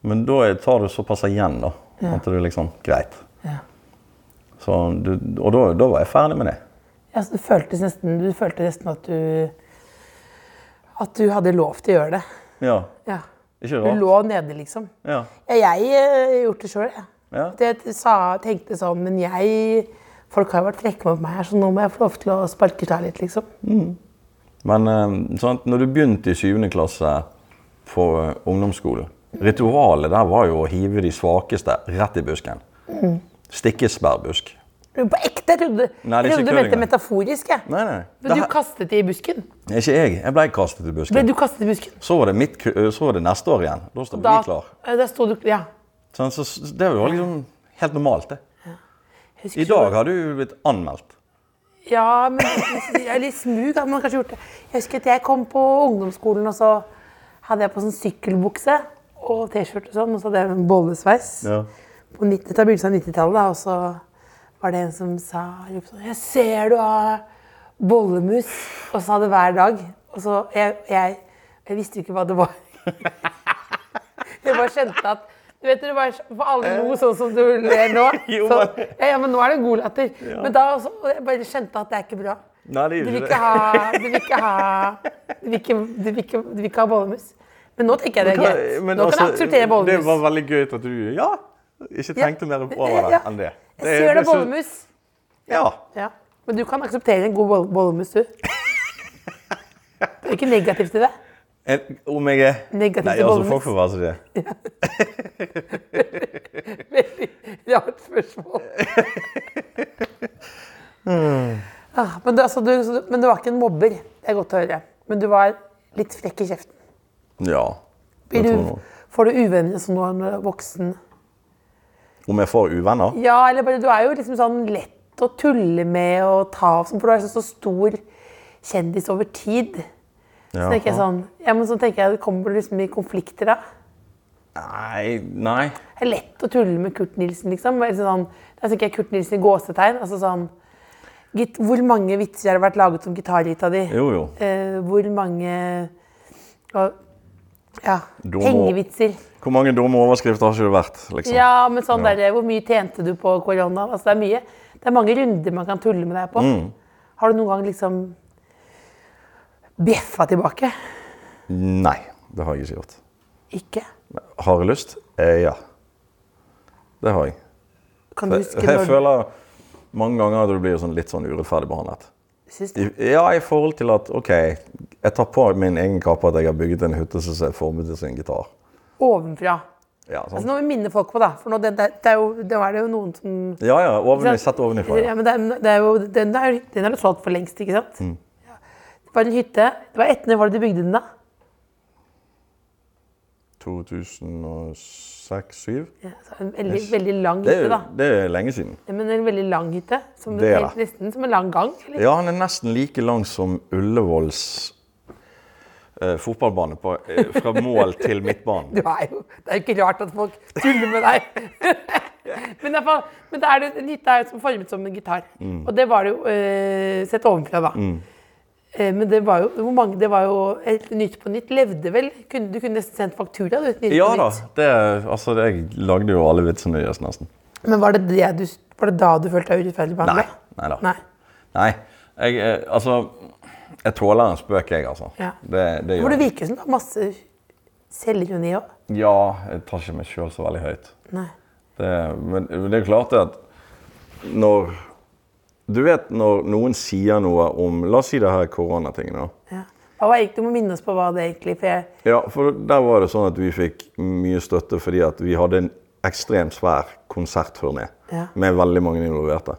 Men da er- tar du såpass igjen, da. At du liksom Greit. Ja. Så du, og da, da var jeg ferdig med det. Ja, så du, føltes nesten, du følte nesten at du At du hadde lov til å gjøre det. Ja. Ja. Ikke Du rart. lå nede, liksom. Ja. Ja, jeg har gjort det sjøl, jeg. Ja. At Jeg t- sa, tenkte sånn, men jeg Folk har jo vært frekke mot meg her, så nå må jeg få lov til å sparke gitar litt, liksom. Men eh, sant, når du begynte i syvende klasse på eh, ungdomsskolen Ritualet der var jo å hive de svakeste rett i busken. Stikkesbærbusk. På ekte! Jeg trodde, jeg Nei, det er ikke trodde du kødd mente engang. metaforisk, jeg. Nei, nei. Men du Det her- kastet de i busken. ikke jeg. Jeg ble kastet i Ble busken. du kastet i busken? Så var det, mitt, ku- eh, så var det neste år igjen. Da står vi klar. eh, da sto du Ja. Sånn, så s- det var liksom helt normalt, det. Jeg husker I ikke dag har du blitt anmeldt. Ja, men jeg er litt smug hadde man kanskje gjort det. Jeg husker at jeg kom på ungdomsskolen, og så hadde jeg på sånn sykkelbukse og T-skjorte og sånn, og så hadde jeg en bollesveis. Ja. På 90, da begynnelsen av 90-tallet, da, og så var det en som sa ropte sånn, Jeg ser du har bollemus! Og så hadde hver dag. Og så jeg, jeg, jeg visste jo ikke hva det var. jeg bare kjente at du vet, det var, for alle lo sånn som du ler nå. Jo, Så, men- ja, ja, men nå er det god latter. Men da også, og jeg bare kjente at det er ikke bra. Nei, det Du gjør vil ikke ikke det. ha, du vil ikke ha, du vil ikke, du vil ikke, du vil ikke ha bollemus. Men nå tenker jeg det er greit. Men nå kan jeg altså, akseptere Det bollemus. var veldig gøy at du ja, ikke tenkte mer på Ja, det ja. enn det. Jeg ser det så- bollemus. Ja. Ja. Men du kan akseptere en god boll- bollemus, du. Det er ikke negativt i det. En, om jeg er Negativ Nei, til altså, bollemus. folk får være som de er. Veldig rart spørsmål. Ah, men, du, altså, du, så du, men du var ikke en mobber. Det er godt å høre. Men du var litt frekk i kjeften. Ja. Blir Jeg tror du, nå. får du uvenner som når du er voksen? Om jeg får uvenner? Ja, eller bare, du er jo liksom sånn lett å tulle med og ta av, sånn, for du er liksom så stor kjendis over tid. Så tenker jeg sånn, ja, men så tenker jeg, kommer du liksom i konflikter da? Nei, nei. Det er lett å tulle med Kurt Nilsen, liksom. Bare Sånn, da tenker jeg Kurt Nilsen i gåsetegn. Altså sånn, git, hvor mange vitser har det vært laget om gitarhytta di? Jo, jo. Eh, hvor mange og, ja, Da må- hengevitser? Hvor mange dumme overskrifter har ikke det vært? liksom? Ja, men sånn der, hvor mye tjente du på korona? Altså, det er mye. Det er mange runder man kan tulle med deg på. Mm. Har du noen gang liksom bjeffa tilbake? Nei, det har jeg ikke gjort. Ikke? Har jeg lyst? Eh, ja. Det har jeg. Kan du Jeg, huske jeg når du føler mange ganger at du blir sånn, litt sånn urettferdig behandlet. syns I, ja, i forhold til at OK, jeg tar på min egen kappe at jeg har bygget en hytte som er formet til sin gitar. Ovenfra. Ja, Altså, sånn. nå må vi minne folk på, da. For nå, det, det, det er jo, det er det jo noen som ja, ja ovenif- sett ovenifra. Ja, Ja. men det er, det er jo, den, er, den er jo solgt for lengst, ikke sant? Mm. Ja. Det var en hytte. Det var etter når var det du bygde den, da? 2006-2007? Ja, så en veldig, veldig lang Det, er hytte, jo- da. det er lenge siden. Ja, Men en veldig lang hytte. Som, Det er det. helt, nesten som en lang gang. Eller? Ja, han er nesten like lang som Ullevåls eh, fotballbane på, eh, fra mål til midtbanen. Du er jo, det er jo ikke rart at folk tuller med deg. Men, i hvert fall, men da er det, en hytte er jo som formet som en gitar. Mm. Og det var det jo eh, sett ovenfra, da. Eh, men det var jo hvor mange, det var jo helt Nytt på Nytt levde vel? Kunne, du kunne nesten sendt faktura du, til Nytt Ja på da. Nytt. Det, altså, det, jeg lagde jo alle vitsene deres, nesten. Men var det, det du, var det da du følte deg urettferdig Nei. behandla? Nei da. Nei. Nei. Jeg, eh, altså Jeg tåler en spøk, jeg, altså. Ja. Det, det For gjør det jeg. virker som du har masse selvironi òg. Ja, jeg tar ikke meg sjøl så veldig høyt. Nei. Det, men men det er jo klart det at når Du vet når noen sier noe om La oss si det her koronatingen, da. Ja. Hva var egentlig, du må minne oss på hva det egentlig for jeg, Ja, for der var det sånn at vi fikk mye støtte fordi at vi hadde en ekstremt svær konsertturné Ja. med veldig mange involverte.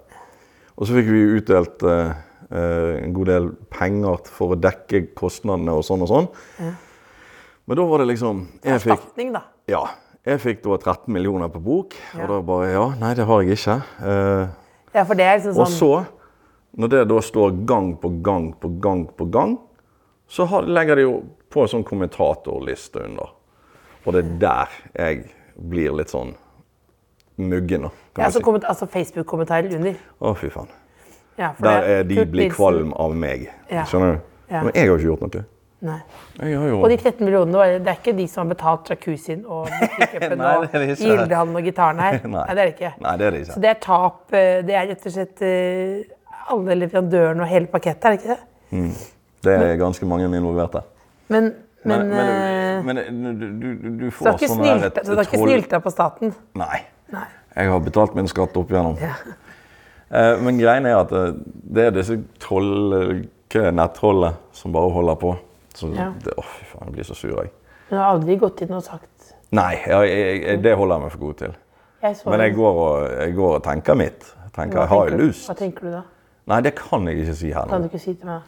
Og så fikk vi utdelt eh, eh, en god del penger for å dekke kostnadene og sånn og sånn. Men da var det liksom jeg fikk, Erstatning, da. ja, jeg fikk da 13 millioner på bok, Ja. og da bare Ja, nei, det har jeg ikke. Eh, Ja, for det er liksom og sånn så, når det da står gang på gang på gang på gang, så har, legger de jo på en sånn kommentatorliste under. Og det er der jeg blir litt sånn muggen, da. ja, Kan så jeg si. komment, altså Facebook-kommentarer under. Å, fy faen. Ja, for Der det er de Kurt blir Nilsen. kvalm av meg. Ja. Skjønner du? Ja. Men jeg har ikke gjort noe. Nei. Jeg har jo Og de 13 millionene, var- det er ikke de som har betalt jacuzzien og pickupen Nei, og det er det ikke. Gildehallen og gitaren her? Nei. det er det ikke. Nei, det er det ikke. Så det er tap eh, Det er rett og slett eh, alle leverandørene og hele pakettet, er det ikke det? Det er ganske mange involverte. Men, men, Men, men, eh, men, du, du, du så du har får ikke sånn der snylta- et- så du har et ikke hold- snylta på staten? Nei. Nei. Jeg har betalt min skatt opp igjennom. Ja. Eh, Men greien er at eh, det er disse troll, hva er nettrollet som bare holder på. Så Ja. det, å, fy faen, jeg blir så sur, jeg. Men jeg har aldri gått inn og sagt Nei, jeg, jeg, jeg, det holder jeg meg for god til. jeg så Men jeg en- går og, jeg går og tenker mitt. Tenker, Hva jeg har tenker jo du- lyst. Hva tenker du da? Nei, det kan jeg ikke si her Kan nå. du ikke si til meg?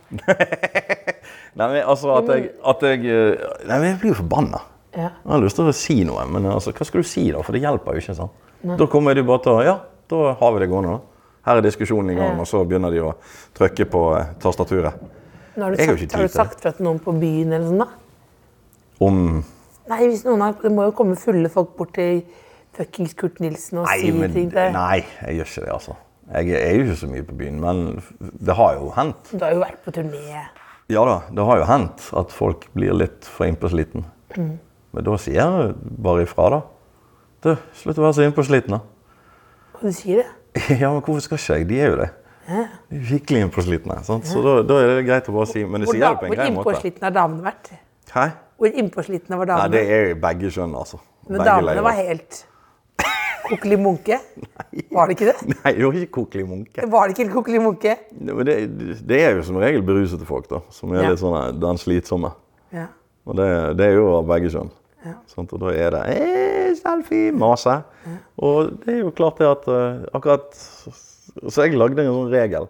Nei, men altså at jeg, at jeg eh, Nei, men jeg blir jo forbanna. Ja. Jeg har lyst til å si noe, men altså, hva skal du si da? For det hjelper jo ikke. sant? Da kommer de bare til å Ja, da har vi det gående, da. Her er diskusjonen i gang, Ja. og så begynner de å trykke på eh, tastaturet. Nå har du Jeg har sagt, ikke tid har du til det. sagt fra til noen på byen eller sånn da? Om Nei, hvis noen har, det må jo komme fulle folk bort til fuckings Kurt Nilsen og si men- ting til nei, jeg gjør ikke det, altså. Jeg er er jo ikke så mye på byen, men det har jo hendt. Du har jo vært på turné. Ja da, det har jo hendt at folk blir litt for innpåsliten. Mm. Men da sier jeg bare ifra, da. Du, slutt å være så innpåsliten, da. Kan du si det? Ja, men hvorfor skal ikke jeg? De er jo det. De er Virkelig innpåslitne. Sant? Så da, da er det greit å bare si Men de Hvor, sier da, det på en hvor grei måte. innpåslitne har damene vært? Hæ? Hvor innpåslitne var Nei, damene? det er jo begge kjønn, altså. Men Begge damene leirer. var helt Kokkeli Munke? Var det ikke det? Nei, det var ikke kokelig munke. Var det ikke helt Kokkeli Munke? Men det, det er jo som regel berusete folk, da. Som er Ja. litt sånn eh, den slitsomme. Ja. Og det, det er jo av begge kjønn. Sant? og da er det eh, selfie, mase. Og det er jo klart det at eh, akkurat Så jeg lagde en sånn regel.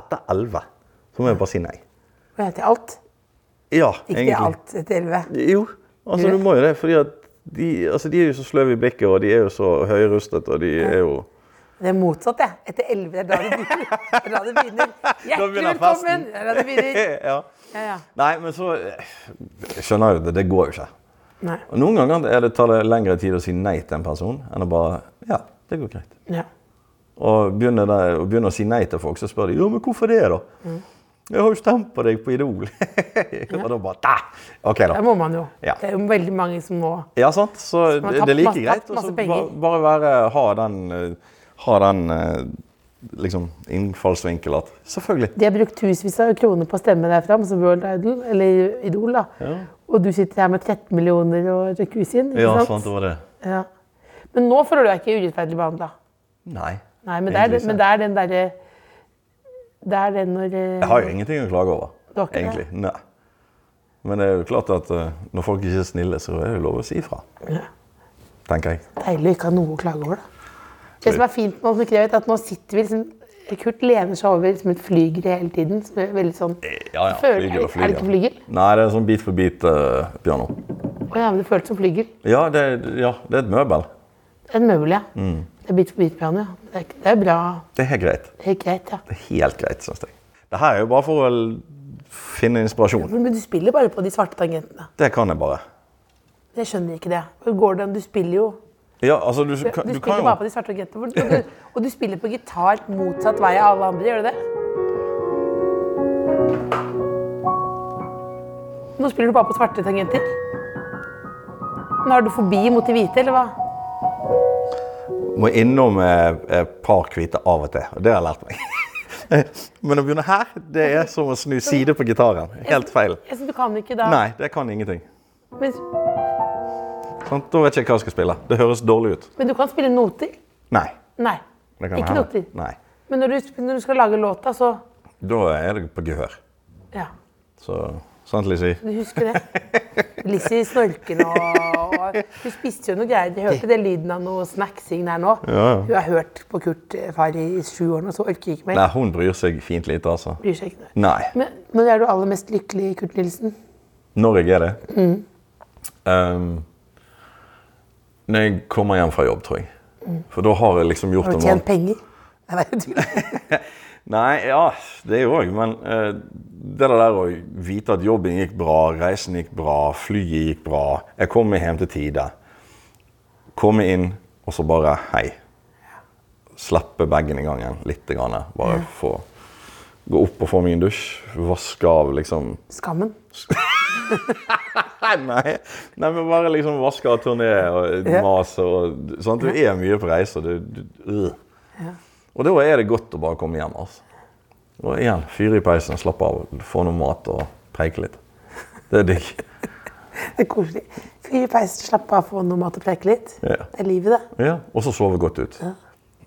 Etter elleve så må jeg bare si nei. Og jeg til alt. Ja, Ikke til alt til elleve. Jo, altså Gjør du må jo det, fordi at de, altså, de er jo så sløve i blikket, og de er jo så høyrustet, og de er jo Det er motsatt, jeg. Etter elleve. Det er da det begynner. Det er da det begynner. Da Hjertelig begynner velkommen! festen. Det er da det begynner. Eh, ja. Ja, ja. Nei, men så eh, Jeg skjønner jo det, det går jo ikke. Nei. Og Noen ganger er det, tar det lengre tid å si nei til en person enn å bare Ja, det går greit. Ja. Og begynner, det, og begynner å si nei til folk, så spør de ja, men hvorfor det, da? Mm. Jeg har jo stemt på deg på Idol. og da bare «Nei, OK, da. Det må man jo. Ja. Det er jo veldig mange som må Ja, sant? Så man det, tapt det er like masse- greit tapt å masse så penger. ba- bare være, ha den, eh, ha den eh, liksom, innfallsvinkel at Selvfølgelig. De har brukt tusenvis av kroner på å stemme deg fram som World Idol, eller Idol, da. Og du sitter her med 13 millioner og jacuzzien, ikke Ja, sant, sant? det var det. Ja. Men nå føler du deg ikke urettferdig behandla. Nei. Nei, men det er, egentlig ikke. men det er den derre Det er den når eh, Jeg har jo ingenting å klage over, Du har ikke det? egentlig. Nei. Men det er jo klart at eh, når folk ikke er snille, så er det lov å si ifra. Tenker jeg. Deilig å ikke ha noe å klage over, da. Det som er fint med Åsmund Krevet, er at nå sitter vi liksom Kurt lener seg over som et flygel hele tiden. Så det er veldig sånn Ja, ja. Føler- er det- er det ikke flygel? Nei, det er sånn bit for bit-piano. Å ja, men det føles som flygel. ja, det, ja, det er et møbel. Det er en møbel, ja. Det er bit for bit-piano, ja. Det er, ikke- det er bra. Det er helt greit. Helt greit, ja. Det er helt greit, syns jeg. Det her er jo bare for å l- finne inspirasjon. Men du spiller bare på de svarte tangentene. Det kan jeg bare. Jeg skjønner ikke det. Hvor går det an? Du spiller jo Ja, altså, du, Du, kan- du kan spiller jo bare på de svarte orkestrene. hvor- Og, du- og du spiller på gitar motsatt vei av alle andre, gjør du det? Nå spiller du bare på svarte tangenter. Nå har du fobi mot de hvite, eller hva? må innom eh, et par hvite av og til. Og det har jeg lært meg. Men å begynne her, det er som å snu side på gitaren. Helt feil. Jeg synes du kan ikke da. Nei, det kan ingenting. Men, Sant? Da vet jeg ikke hva jeg skal spille. Det høres dårlig ut. men du kan spille noter. Nei. Nei. Det kan jeg Ikke heller. noter. Nei. Men når du, sp- når du skal lage låta, så Da er det på gehør. Ja, Så sånn sant, Lizzie? du husker det. Lizzie snorker nå. og Hun spiste jo noe greier. Jeg hørte det lyden av noe snacksing der nå. Hun har hørt på Kurt eh, far i sju år nå, så orker ikke mer. Nei, hun bryr seg fint lite, altså. Bryr seg ikke noe. Nei. Men når er du aller mest lykkelig, Kurt Nilsen? Når jeg er det? Mm. Ehm, når jeg kommer hjem fra jobb, tror jeg. For da har jeg liksom gjort Har en du måned. tjent penger? Nei, nei, du- Nei, ja, det òg, men eh, det der å vite at jobben gikk bra, reisen gikk bra, flyet gikk bra, jeg kom meg hjem til tide. Komme inn, og så bare hei. Slippe bagen i gangen litt. Grann. Bare få gå opp og få meg en dusj. Vaske av, liksom. Skammen. Nei, nei, nei men bare liksom vaske av turné og Ja. mase og sånn. Du er mye på reise. og Du, du, øh. Og da er det godt å bare komme hjem. altså. Og igjen, fyre i peisen, slappe av, få noe mat og preike litt. Det er digg. Det er koselig. Fyr i peisen, slapp av, få noe mat og preke litt. Ja. Det er livet, det. Ja, Og så sove godt ut.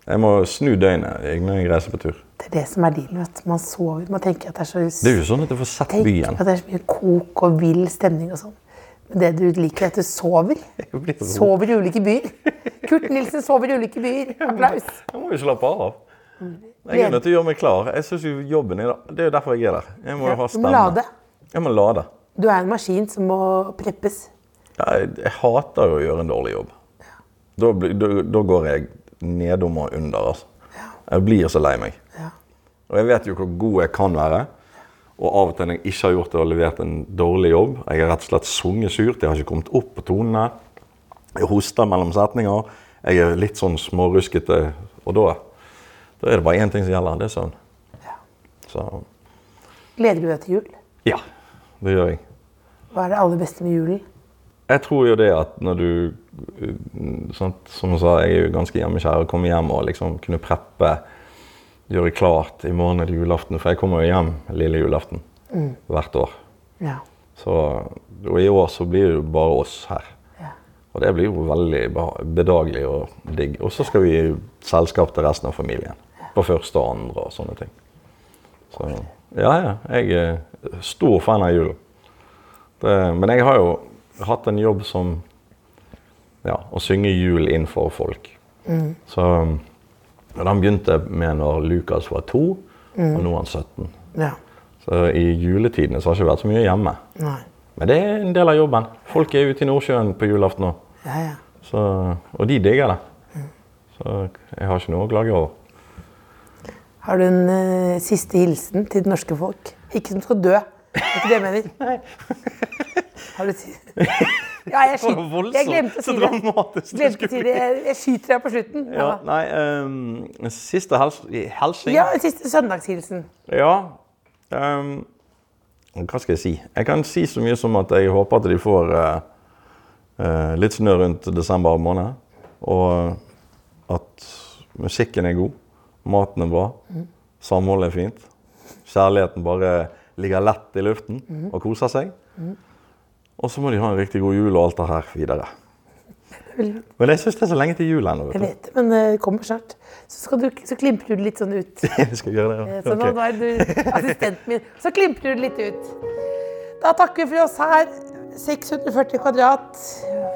Jeg må snu døgnet jeg, når jeg reiser på tur. Det er det som er dealen. vet du. Man sover, man tenker at det er så Det er jo sånn at jeg får sett tenker på byen. at det er så mye kok og vill stemning og sånn. Men det du liker, er at du sover. Jeg blir så- Sover i ulike byer. Kurt Nilsen sover i ulike byer. Applaus. Jeg må jo slappe av. Mm. Jeg er nødt til å gjøre meg klar. Jeg synes jo jobben er, Det er jo derfor jeg er der. Jeg må jo Ja, ha du må lade. stemme. Jeg må lade. Du er en maskin som må preppes. Ja, Jeg, jeg hater jo å gjøre en dårlig jobb. Da, blir- da, da går jeg nedom og under. Altså. Jeg blir så lei meg. Ja. Og jeg vet jo hvor god jeg kan være. Og av og til når jeg ikke har gjort det og levert en dårlig jobb Jeg har rett og slett sunget surt, jeg har ikke kommet opp på tonene. Jeg hoster mellom setninger. Jeg er litt sånn småruskete. Og da, da er det bare én ting som gjelder, det er søvn. Så Gleder du deg til jul? ja, det gjør jeg. Hva er det aller beste med julen? Jeg tror jo det at når du uh, sant, Som jeg sa, jeg er jo ganske hjemmekjær. Å komme hjem og liksom kunne preppe, gjøre klart i morgen er det julaften. For jeg kommer jo hjem lille julaften hvert år. Ja. Så, og i år så blir det jo bare oss her. Ja. Og det blir jo veldig beha- bedagelig og digg. Og så skal vi i selskap til resten av familien. På første og andre og sånne ting. Så ja, ja. Jeg er stor fan av julen. Det, men jeg har jo hatt en jobb som ja, å synge jul inn for folk. Så og den begynte jeg med når Lukas var to, og nå er han 17. ja. Så i juletidene så har jeg ikke vært så mye hjemme. Nei. Men det er en del av jobben. Folk er ute i Nordsjøen på julaften nå. Ja, ja. Så, og de digger det. Så jeg har ikke noe å klage over. Har du en eh, siste hilsen til det norske folk? Ikke som skal dø. Det er ikke det jeg mener. Nei. Har du si... Ja, jeg, skyter. jeg glemte å si det. dramatisk. Glemte å si det. Jeg, jeg skyter deg på slutten. Ja, nei, ehm, siste hels helsing. Ja, en siste søndagshilsen. Ja. ehm, hva skal jeg si? Jeg kan si så mye som at jeg håper at de får eh, eh, litt snø rundt desember måned. Og at musikken er god, maten er bra, Mhm. samholdet er fint. Kjærligheten bare ligger lett i luften Mhm. og koser seg. Og så må de ha en riktig god jul og alt det her videre. Vel- Men jeg syns det er så lenge til jul ennå. Jeg vet du. vet det, men eh, det kommer snart. Så, skal du, så klimper du litt sånn ut. Eh, Jeg skal gjøre det, ja. Så nå Ok. nå er du assistenten min. Så klimper du litt ut. Da takker vi for oss her. 640 kvadrat.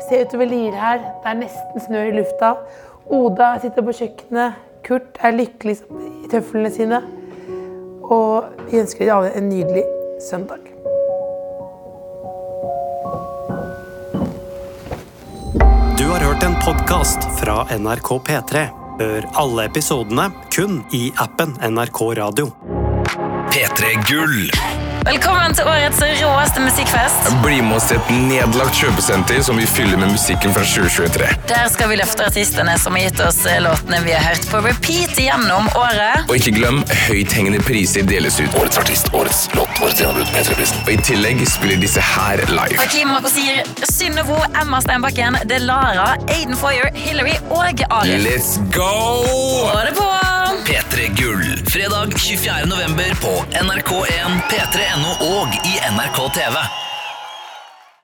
Se utover Lier her. Det er nesten snø i lufta. Oda sitter på kjøkkenet. Kurt er lykkelig i tøflene sine. Og vi ønsker dere alle en nydelig søndag. Du har hørt en podkast fra NRK P3. Hør alle episodene kun i appen NRK Radio. P3 Gull Velkommen til årets råeste musikkfest. Bli med oss til et nedlagt kjøpesenter som vi fyller med musikken fra 2023. Der skal vi løfte artistene som har gitt oss eh, låtene vi har hørt på repeat gjennom året. Og ikke glem, høythengende priser deles ut. Årets artist, årets låt, årets gjennombrudd, P3-prisen. Og i tillegg spiller disse her live. Hakim Makosir, Synnøvo, Emma Steinbakken, Delara, Aiden Foyer, Hillary og Arif. Let's go! Ha det på! P3 Gull. Fredag 24. november på NRK1, P3.no og i NRK TV.